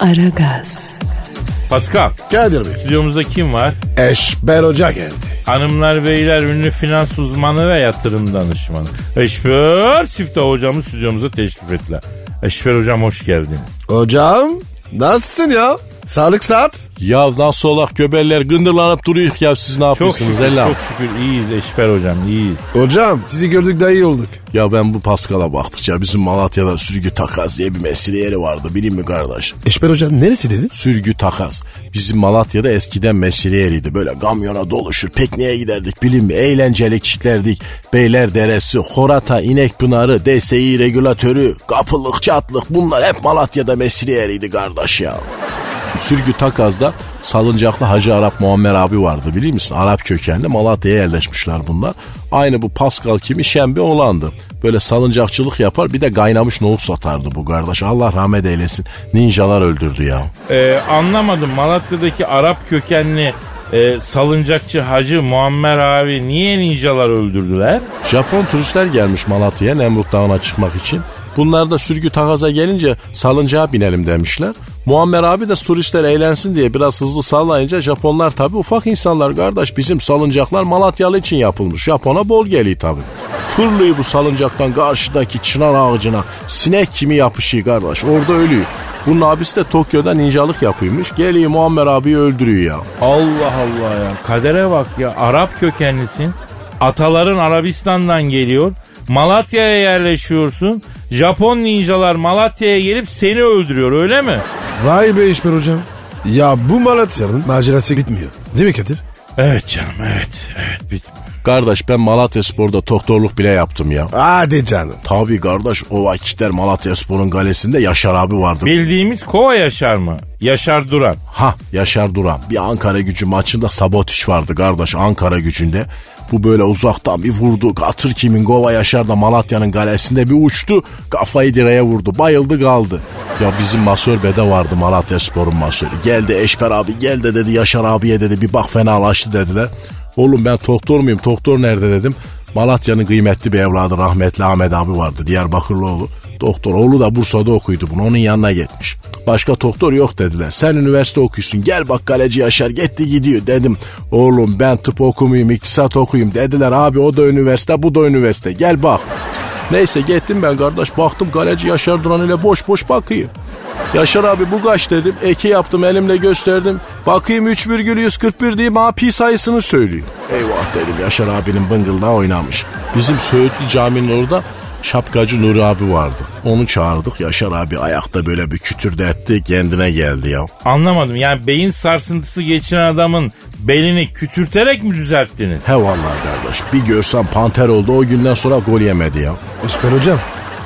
A: Aragaz.
B: Pascal,
C: Kadir Bey.
B: stüdyomuzda kim var?
C: Eşber Hoca geldi.
B: Hanımlar beyler ünlü finans uzmanı ve yatırım danışmanı. Eşber Siftah hocamı stüdyomuza teşrif ettiler. Eşber hocam hoş geldiniz.
E: Hocam nasılsın ya? Sağlık saat.
F: Ya nasıl olak göbeller gındırlanıp duruyor ya siz ne
B: Çok
F: yapıyorsunuz
B: şükür,
F: Ella?
B: çok şükür iyiyiz Eşber hocam iyiyiz.
E: Hocam sizi gördük daha iyi olduk.
F: Ya ben bu Paskal'a baktıkça bizim Malatya'da sürgü takas diye bir mesire yeri vardı bilin mi kardeş?
E: Eşber hocam neresi dedi?
F: Sürgü takas. Bizim Malatya'da eskiden mesire yeriydi. Böyle kamyona doluşur pikniğe giderdik bilin mi? Eğlencelik çitlerdik. Beyler deresi, Horata, İnek Pınarı, DSİ regülatörü, kapılık, çatlık bunlar hep Malatya'da mesire yeriydi kardeş ya. Sürgü Takaz'da salıncaklı Hacı Arap Muammer abi vardı biliyor musun? Arap kökenli Malatya'ya yerleşmişler bunlar. Aynı bu Pascal kimi Şembe olandı. Böyle salıncakçılık yapar bir de kaynamış nohut satardı bu kardeş. Allah rahmet eylesin. Ninjalar öldürdü ya.
B: Ee, anlamadım Malatya'daki Arap kökenli e, salıncakçı Hacı Muammer abi niye ninjalar öldürdüler?
F: Japon turistler gelmiş Malatya'ya Nemrut Dağı'na çıkmak için. Bunlar da sürgü takaza gelince salıncağa binelim demişler. Muammer abi de turistler eğlensin diye biraz hızlı sallayınca Japonlar tabi ufak insanlar kardeş bizim salıncaklar Malatyalı için yapılmış. Japona bol geliyor tabi. Fırlıyor bu salıncaktan karşıdaki çınar ağacına sinek kimi yapışıyor kardeş orada ölüyor. Bunun abisi de Tokyo'da ninjalık yapıyormuş. Geliyor Muammer abiyi öldürüyor ya.
B: Allah Allah ya kadere bak ya Arap kökenlisin. Ataların Arabistan'dan geliyor. Malatya'ya yerleşiyorsun. Japon ninjalar Malatya'ya gelip seni öldürüyor öyle mi?
E: Vay be Eşber hocam. Ya bu Malatya'nın macerası bitmiyor. Değil mi Kadir?
B: Evet canım evet. Evet bitmiyor.
F: Kardeş ben Malatya Spor'da doktorluk bile yaptım ya.
E: Hadi canım.
F: Tabii kardeş o vakitler Malatya Spor'un galesinde Yaşar abi vardı.
B: Bildiğimiz kova yaşar mı? Yaşar Duran.
F: Ha Yaşar Duran bir Ankara gücü maçında sabotiş vardı kardeş Ankara gücünde. Bu böyle uzaktan bir vurdu. Katır kimin Gova Yaşar da Malatya'nın galesinde bir uçtu. Kafayı direğe vurdu. Bayıldı kaldı. Ya bizim masör bede vardı Malatya Spor'un masörü. Geldi Eşber abi gel de dedi Yaşar abiye dedi bir bak fenalaştı dediler. Oğlum ben doktor muyum? Doktor nerede dedim. Malatya'nın kıymetli bir evladı rahmetli Ahmet abi vardı Diyarbakırlıoğlu. Doktor oğlu da Bursa'da okuydu bunu onun yanına gitmiş. Başka doktor yok dediler. Sen üniversite okuyorsun gel bak kaleci Yaşar gitti gidiyor dedim. Oğlum ben tıp okumayayım iktisat okuyayım dediler abi o da üniversite bu da üniversite gel bak. Cık. Neyse gittim ben kardeş baktım kaleci Yaşar Duran ile boş boş bakıyor. Yaşar abi bu kaç dedim. Eki yaptım elimle gösterdim. Bakayım 3,141 diye bana pi sayısını söylüyor. Eyvah dedim Yaşar abinin bıngıldağı oynamış. Bizim Söğütlü caminin orada şapkacı Nuri abi vardı. Onu çağırdık Yaşar abi ayakta böyle bir kütürde etti kendine geldi ya.
B: Anlamadım yani beyin sarsıntısı geçiren adamın belini kütürterek mi düzelttiniz?
F: He vallahi kardeş bir görsen panter oldu o günden sonra gol yemedi ya.
E: Eşber hocam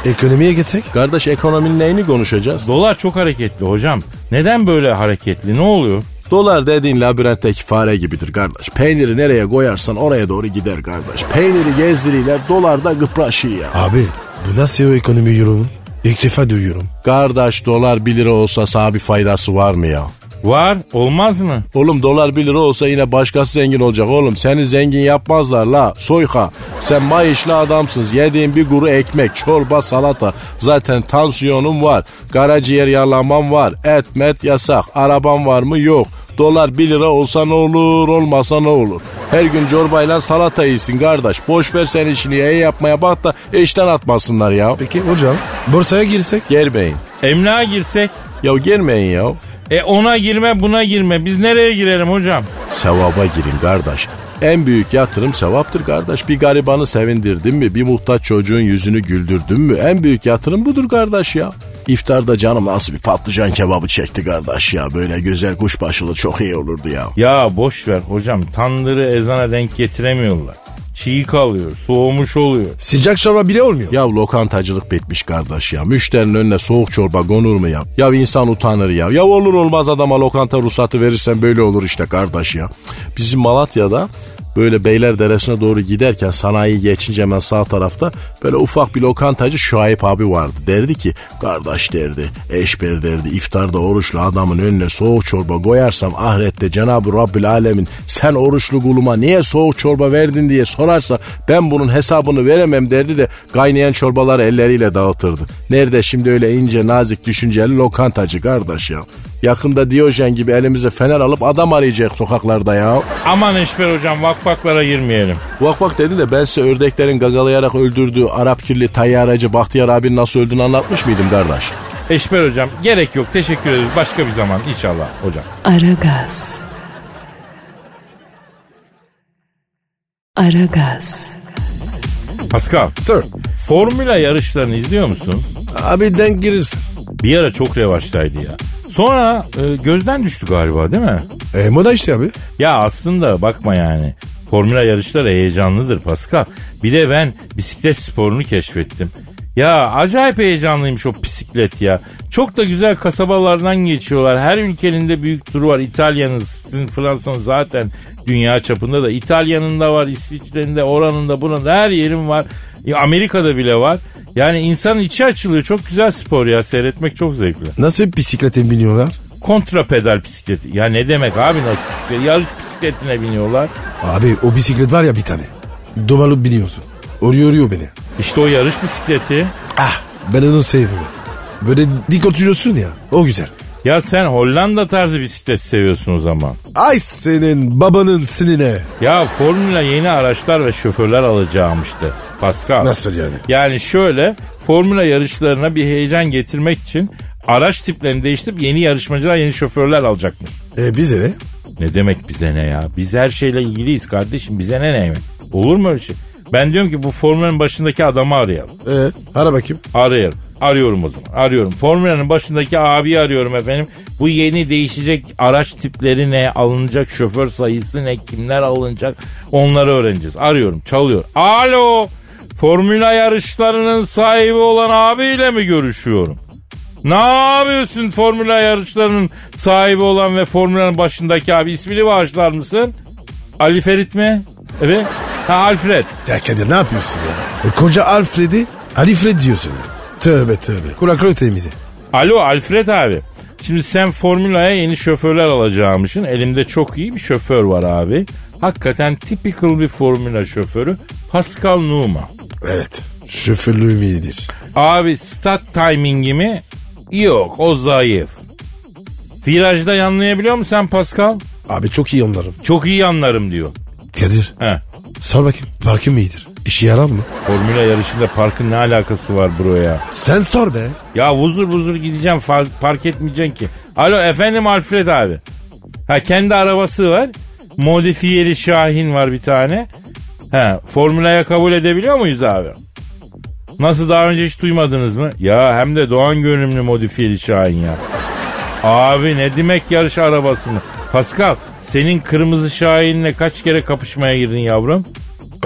E: ekonomiye geçsek?
F: Kardeş ekonominin neyini konuşacağız?
B: Dolar çok hareketli hocam. Neden böyle hareketli ne oluyor?
F: Dolar dediğin labirentteki fare gibidir kardeş. Peyniri nereye koyarsan oraya doğru gider kardeş. Peyniri gezdiriyle dolar da kıpraşıyor ya.
E: Abi bu nasıl ekonomi yorumu? İlk defa duyuyorum.
F: Kardeş dolar 1 lira olsa sana bir faydası var mı ya?
B: Var olmaz mı?
F: Oğlum dolar 1 lira olsa yine başkası zengin olacak oğlum. Seni zengin yapmazlar la soyka. Sen may işli adamsınız. Yediğin bir kuru ekmek, çorba, salata. Zaten tansiyonum var. Karaciğer yaralamam var. Et met yasak. Arabam var mı? Yok. Dolar 1 lira olsa ne olur olmasa ne olur. Her gün çorbayla salata yiyorsun kardeş. Boş ver sen işini iyi yapmaya bak da işten atmasınlar ya.
E: Peki hocam borsaya girsek?
F: Germeyin.
B: Emlağa girsek?
F: Ya girmeyin ya.
B: E ona girme buna girme. Biz nereye girelim hocam?
F: Sevaba girin kardeş. En büyük yatırım sevaptır kardeş. Bir garibanı sevindirdin mi? Bir muhtaç çocuğun yüzünü güldürdün mü? En büyük yatırım budur kardeş ya. İftarda canım nasıl bir patlıcan kebabı çekti kardeş ya. Böyle güzel kuşbaşılı çok iyi olurdu ya.
B: Ya boş ver hocam tandırı ezana denk getiremiyorlar. Çiğ kalıyor, soğumuş oluyor.
E: Sıcak çorba bile olmuyor.
F: Ya lokantacılık bitmiş kardeş ya. Müşterinin önüne soğuk çorba konur mu ya? Ya insan utanır ya. Ya olur olmaz adama lokanta ruhsatı verirsen böyle olur işte kardeş ya. Bizim Malatya'da böyle Beyler Deresi'ne doğru giderken sanayi geçince hemen sağ tarafta böyle ufak bir lokantacı Şuayip abi vardı. Derdi ki kardeş derdi, eşber derdi, iftarda oruçlu adamın önüne soğuk çorba koyarsam ahirette Cenab-ı Rabbül Alemin sen oruçlu kuluma niye soğuk çorba verdin diye sorarsa ben bunun hesabını veremem derdi de kaynayan çorbaları elleriyle dağıtırdı. Nerede şimdi öyle ince nazik düşünceli lokantacı kardeş ya. Yakında Diyojen gibi elimize fener alıp adam arayacak sokaklarda ya.
B: Aman Eşber hocam vakfaklara girmeyelim.
F: Vak vak dedi de ben size ördeklerin gagalayarak öldürdüğü Arap kirli tayyaracı Bahtiyar abinin nasıl öldüğünü anlatmış mıydım kardeş?
B: Eşber hocam gerek yok teşekkür ederiz başka bir zaman inşallah hocam.
A: Aragaz. Aragaz.
B: Pascal
E: Sir.
B: formüla yarışlarını izliyor musun?
E: Abi denk girirsin.
B: Bir ara çok revaçtaydı ya. Sonra e, gözden düştü galiba değil mi?
E: E moda işte abi.
B: Ya aslında bakma yani. Formula yarışları heyecanlıdır Pascal. Bir de ben bisiklet sporunu keşfettim. Ya acayip heyecanlıymış o bisiklet ya. Çok da güzel kasabalardan geçiyorlar. Her ülkenin de büyük turu var. İtalya'nın, sizin Fransa'nın zaten dünya çapında da. İtalya'nın da var, İsviçre'nin de, oranın da, buranın da her yerin var. Ya Amerika'da bile var. Yani insanın içi açılıyor. Çok güzel spor ya. Seyretmek çok zevkli.
E: Nasıl bisiklete biniyorlar?
B: Kontra pedal bisikleti. Ya ne demek abi nasıl bisiklet? Yarış bisikletine biniyorlar.
E: Abi o bisiklet var ya bir tane. Domalıp biniyorsun. O yoruyor beni.
B: İşte o yarış bisikleti.
E: Ah ben onu seviyorum. Böyle dik oturuyorsun ya o güzel.
B: Ya sen Hollanda tarzı bisiklet seviyorsun o zaman.
E: Ay senin babanın sinine.
B: Ya Formula yeni araçlar ve şoförler alacağımıştı. Pascal.
E: Nasıl yani?
B: Yani şöyle Formula yarışlarına bir heyecan getirmek için araç tiplerini değiştirip yeni yarışmacılar yeni şoförler alacakmış.
E: E bize ne?
B: Ne demek bize ne ya? Biz her şeyle ilgiliyiz kardeşim bize ne ne? Olur mu öyle şey? Ben diyorum ki bu formülün başındaki adamı arayalım.
E: E ara bakayım.
B: Arıyorum. Arıyorum o zaman. Arıyorum. Formula'nın başındaki abi arıyorum efendim. Bu yeni değişecek araç tipleri ne? Alınacak şoför sayısı ne? Kimler alınacak? Onları öğreneceğiz. Arıyorum. Çalıyor. Alo. Formula yarışlarının sahibi olan abiyle mi görüşüyorum? Ne yapıyorsun formula yarışlarının sahibi olan ve formülanın başındaki abi? İsmini bağışlar mısın? Ali Ferit mi? Evet. Ha Alfred.
E: Ya Kadir ne yapıyorsun ya? E, koca Alfred'i Alfred diyorsun. ya. Tövbe tövbe. Kulakları temizi.
B: Alo Alfred abi. Şimdi sen Formula'ya yeni şoförler alacağımışsın. Elimde çok iyi bir şoför var abi. Hakikaten typical bir Formula şoförü. Pascal Numa.
E: Evet. Şoförlüğüm iyidir.
B: Abi start timingi mi? Yok o zayıf. Virajda yanlayabiliyor musun sen Pascal?
E: Abi çok iyi onların.
B: Çok iyi yanlarım diyor.
E: Kadir
B: He.
E: sor bakayım. Parkım iyidir. İşe yarar mı?
B: Formula yarışında parkın ne alakası var bro ya?
E: Sen sor be.
B: Ya vuzur vuzur gideceğim far- fark etmeyeceksin ki. Alo efendim Alfred abi. Ha kendi arabası var. Modifiyeli Şahin var bir tane. Ha formülaya kabul edebiliyor muyuz abi? Nasıl daha önce hiç duymadınız mı? Ya hem de Doğan görünümlü modifiyeli Şahin ya. Abi ne demek yarış arabası mı? Pascal senin kırmızı Şahin'le kaç kere kapışmaya girdin yavrum?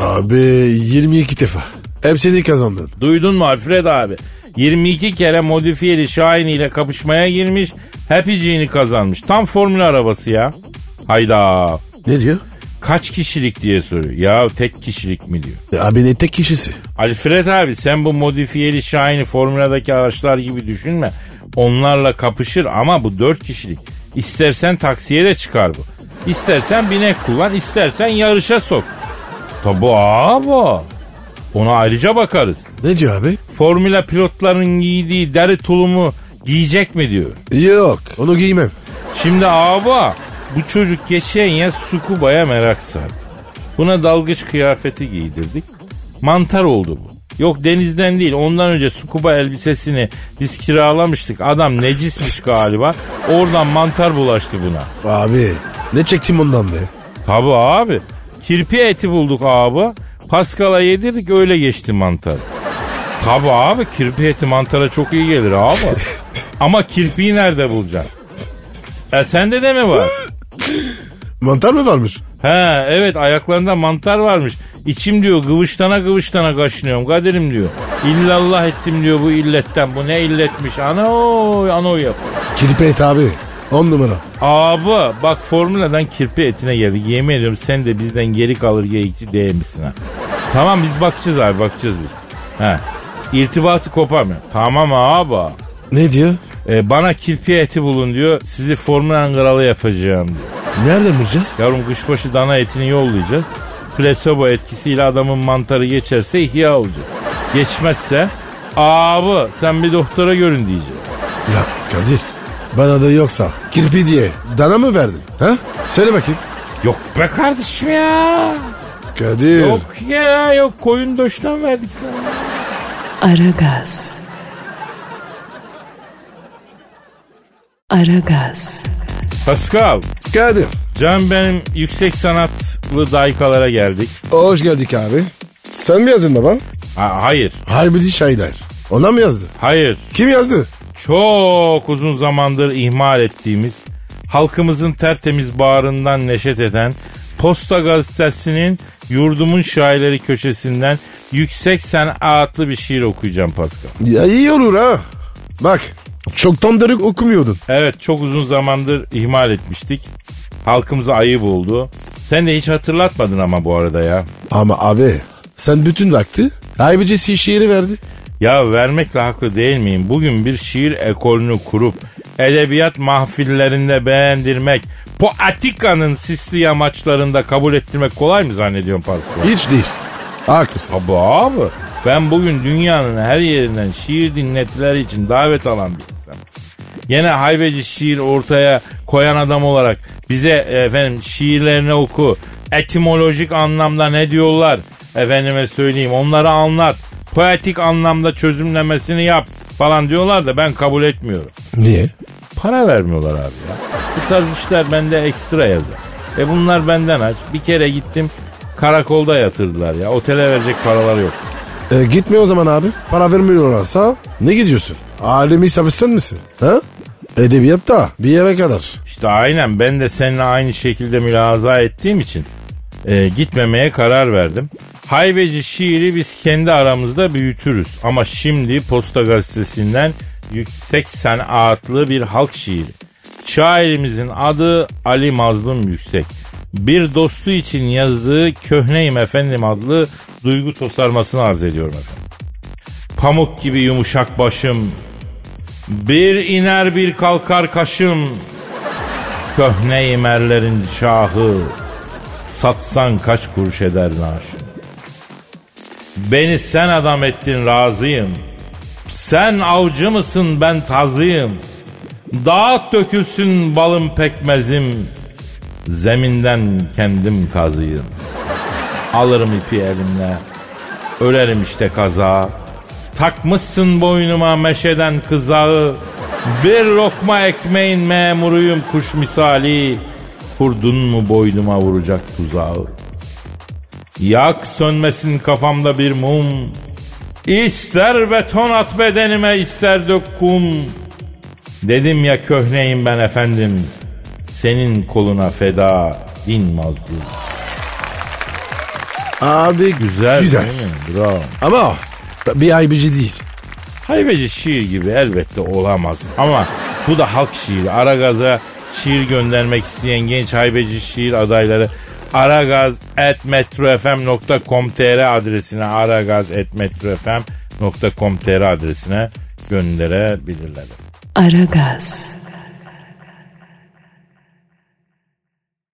E: Abi 22 defa. Hepsini kazandın.
B: Duydun mu Alfred abi? 22 kere modifiyeli Şahin ile kapışmaya girmiş. Hepiciğini kazanmış. Tam formül arabası ya. Hayda.
E: Ne diyor?
B: Kaç kişilik diye soruyor. Ya tek kişilik mi diyor.
E: E, abi ne tek kişisi?
B: Alfred abi sen bu modifiyeli Şahin'i formüladaki araçlar gibi düşünme. Onlarla kapışır ama bu 4 kişilik. İstersen taksiye de çıkar bu. İstersen binek kullan, istersen yarışa sok. Tabu abi. Ona ayrıca bakarız.
E: Ne diyor abi?
B: Formula pilotların giydiği deri tulumu giyecek mi diyor.
E: Yok onu giymem.
B: Şimdi abi bu çocuk geçen ya sukubaya merak sardı. Buna dalgıç kıyafeti giydirdik. Mantar oldu bu. Yok denizden değil ondan önce sukuba elbisesini biz kiralamıştık. Adam necismiş galiba. Oradan mantar bulaştı buna.
E: Abi ne çektim ondan be?
B: Tabi abi. Kirpi eti bulduk abi. Paskala yedirdik öyle geçti mantar. Tabi abi kirpi eti mantara çok iyi gelir abi. Ama kirpiyi nerede bulacaksın? E sende de mi var?
E: Mantar mı varmış?
B: He evet ayaklarında mantar varmış. İçim diyor gıvıştana gıvıştana kaşınıyorum Kadir'im diyor. İllallah ettim diyor bu illetten. Bu ne illetmiş? Ana oy ana oy yapıyor.
E: Kirpi et abi. 10 numara.
B: Abi bak formüladan kirpi etine geldik. Yemin ediyorum sen de bizden geri kalır geyikçi değmişsin ha. Tamam biz bakacağız abi bakacağız biz. He. İrtibatı koparmıyor. Tamam abi.
E: Ne diyor?
B: E, bana kirpi eti bulun diyor. Sizi formülan kralı yapacağım diyor.
E: Nereden bulacağız?
B: Yavrum kuşbaşı dana etini yollayacağız. Plasebo etkisiyle adamın mantarı geçerse ihya olacak. Geçmezse abi sen bir doktora görün diyeceğiz.
E: Ya Kadir Bana da yoksa. Kirpi diye dana mı verdin? Ha? Söyle bakayım.
B: Yok be kardeşim ya.
E: Kadir.
B: Yok ya yok koyun döşten verdik sana.
A: Aragaz. Aragaz.
B: Pascal,
E: Kadir.
B: can benim yüksek sanatlı daykalara geldik.
E: Hoş geldik abi. Sen mi yazdın baba?
B: Ha, hayır,
E: Harbidi şairler. Ona mı yazdı?
B: hayır.
E: Kim yazdı?
B: Çok uzun zamandır ihmal ettiğimiz, halkımızın tertemiz bağrından neşet eden Posta Gazetesi'nin Yurdumun Şairleri köşesinden yüksek sanatlı bir şiir okuyacağım Pascal.
E: Ya iyi olur ha. Bak çoktan dönük okumuyordun.
B: Evet çok uzun zamandır ihmal etmiştik. Halkımıza ayıp oldu. Sen de hiç hatırlatmadın ama bu arada ya.
E: Ama abi sen bütün vakti Haybecesi şiiri verdi.
B: Ya vermekle haklı değil miyim? Bugün bir şiir ekolünü kurup edebiyat mahfillerinde beğendirmek, poetikanın sisli yamaçlarında kabul ettirmek kolay mı zannediyorsun Pascal?
E: Hiç değil. Haklısın.
B: Tabii abi. Ben bugün dünyanın her yerinden şiir dinletileri için davet alan bir insanım. Yine haybeci şiir ortaya koyan adam olarak bize efendim şiirlerini oku. Etimolojik anlamda ne diyorlar? Efendime söyleyeyim onları anlat. Poetik anlamda çözümlemesini yap falan diyorlar da ben kabul etmiyorum.
E: Niye?
B: Para vermiyorlar abi ya. Bu tarz işler bende ekstra yazar. E bunlar benden aç. Bir kere gittim karakolda yatırdılar ya. Otele verecek paralar yok.
E: E, gitme o zaman abi. Para vermiyorlarsa ne gidiyorsun? Alemi sabırsın misin? Ha? Edebiyatta bir yere kadar.
B: İşte aynen ben de seninle aynı şekilde mülaza ettiğim için e, gitmemeye karar verdim. Haybeci şiiri biz kendi aramızda büyütürüz. Ama şimdi Posta Gazetesi'nden yüksek sanatlı bir halk şiiri. Şairimizin adı Ali Mazlum Yüksek. Bir dostu için yazdığı Köhneyim Efendim adlı duygu tosarmasını arz ediyorum efendim. Pamuk gibi yumuşak başım, bir iner bir kalkar kaşım, Köhne imerlerin şahı Satsan kaç kuruş eder naaşın Beni sen adam ettin razıyım Sen avcı mısın ben tazıyım Dağıt dökülsün balım pekmezim Zeminden kendim kazıyım Alırım ipi elimle Ölerim işte kaza Takmışsın boynuma meşeden kızağı Bir lokma ekmeğin memuruyum kuş misali Kurdun mu boynuma vuracak tuzağı Yak sönmesin kafamda bir mum İster beton at bedenime ister dök kum Dedim ya köhneyim ben efendim Senin koluna feda din mazlum
E: Abi
B: Güzel,
E: Güzel.
B: değil mi? Bravo.
E: Ama bir haybeci değil.
B: Haybeci şiir gibi elbette olamaz. Ama bu da halk şiiri. Aragaz'a şiir göndermek isteyen genç haybeci şiir adayları aragaz.metrofm.com.tr adresine aragaz.metrofm.com.tr adresine gönderebilirler.
A: Aragaz.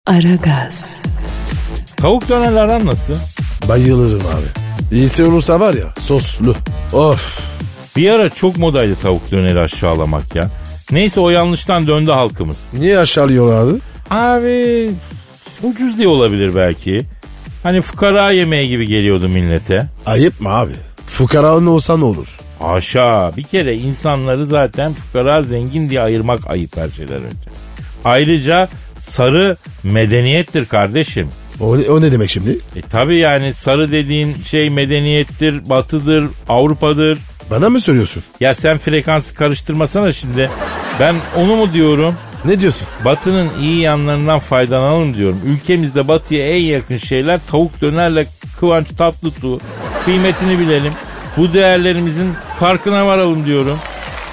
A: Aragaz.
B: Tavuk dönerler aran nasıl?
E: Bayılırım abi. İyisi olursa var ya soslu. Of.
B: Bir ara çok modaydı tavuk döneri aşağılamak ya. Neyse o yanlıştan döndü halkımız.
E: Niye aşağılıyorlardı?
B: Abi ucuz diye olabilir belki. Hani fukara yemeği gibi geliyordu millete.
E: Ayıp mı abi? Fukaranın olsa ne olur?
B: Haşa bir kere insanları zaten fukara zengin diye ayırmak ayıp her şeyden önce. Ayrıca sarı medeniyettir kardeşim.
E: O, ne- o ne demek şimdi?
B: E tabi yani sarı dediğin şey medeniyettir, batıdır, Avrupa'dır.
E: Bana mı söylüyorsun?
B: Ya sen frekansı karıştırmasana şimdi. Ben onu mu diyorum?
E: Ne diyorsun?
B: Batının iyi yanlarından faydalanalım diyorum. Ülkemizde batıya en yakın şeyler tavuk dönerle kıvanç tatlıtuğ. Kıymetini bilelim. Bu değerlerimizin farkına varalım diyorum.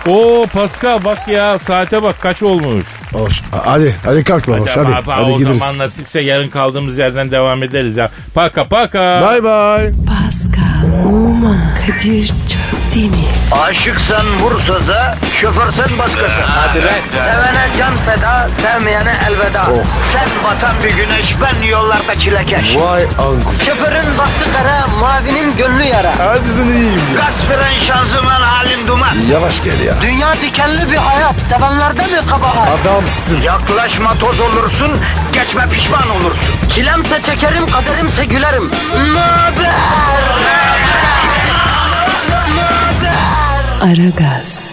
B: Oo Pascal bak ya saate bak kaç olmuş.
E: Hoş. A- Hadi hadi kalkma hoş hadi. Hadi,
B: Acaba o
E: gideriz.
B: zaman nasipse yarın kaldığımız yerden devam ederiz ya. Paka paka.
E: Bay bay.
A: Pascal, Oman, Kadir çok değil mi?
G: Aşıksan vursa da, şoförsen başkasın. Hadi Oh.
H: lan.
G: Sevene can feda, sevmeyene elveda. Sen batan bir güneş, ben yollarda çilekeş.
E: Vay anku.
G: Şoförün baktı kara, mavinin gönlü yara.
E: Hadi sen iyiyim ya.
G: Kasperen şanzıman halin duman.
E: Yavaş gel ya.
G: Dünya dikenli bir hayat, sevenlerde mi kabahar?
E: Adamsın.
G: Yaklaşma toz olursun, geçme pişman olursun. Çilemse çekerim, kaderimse gülerim. Möber!
A: Aragaz.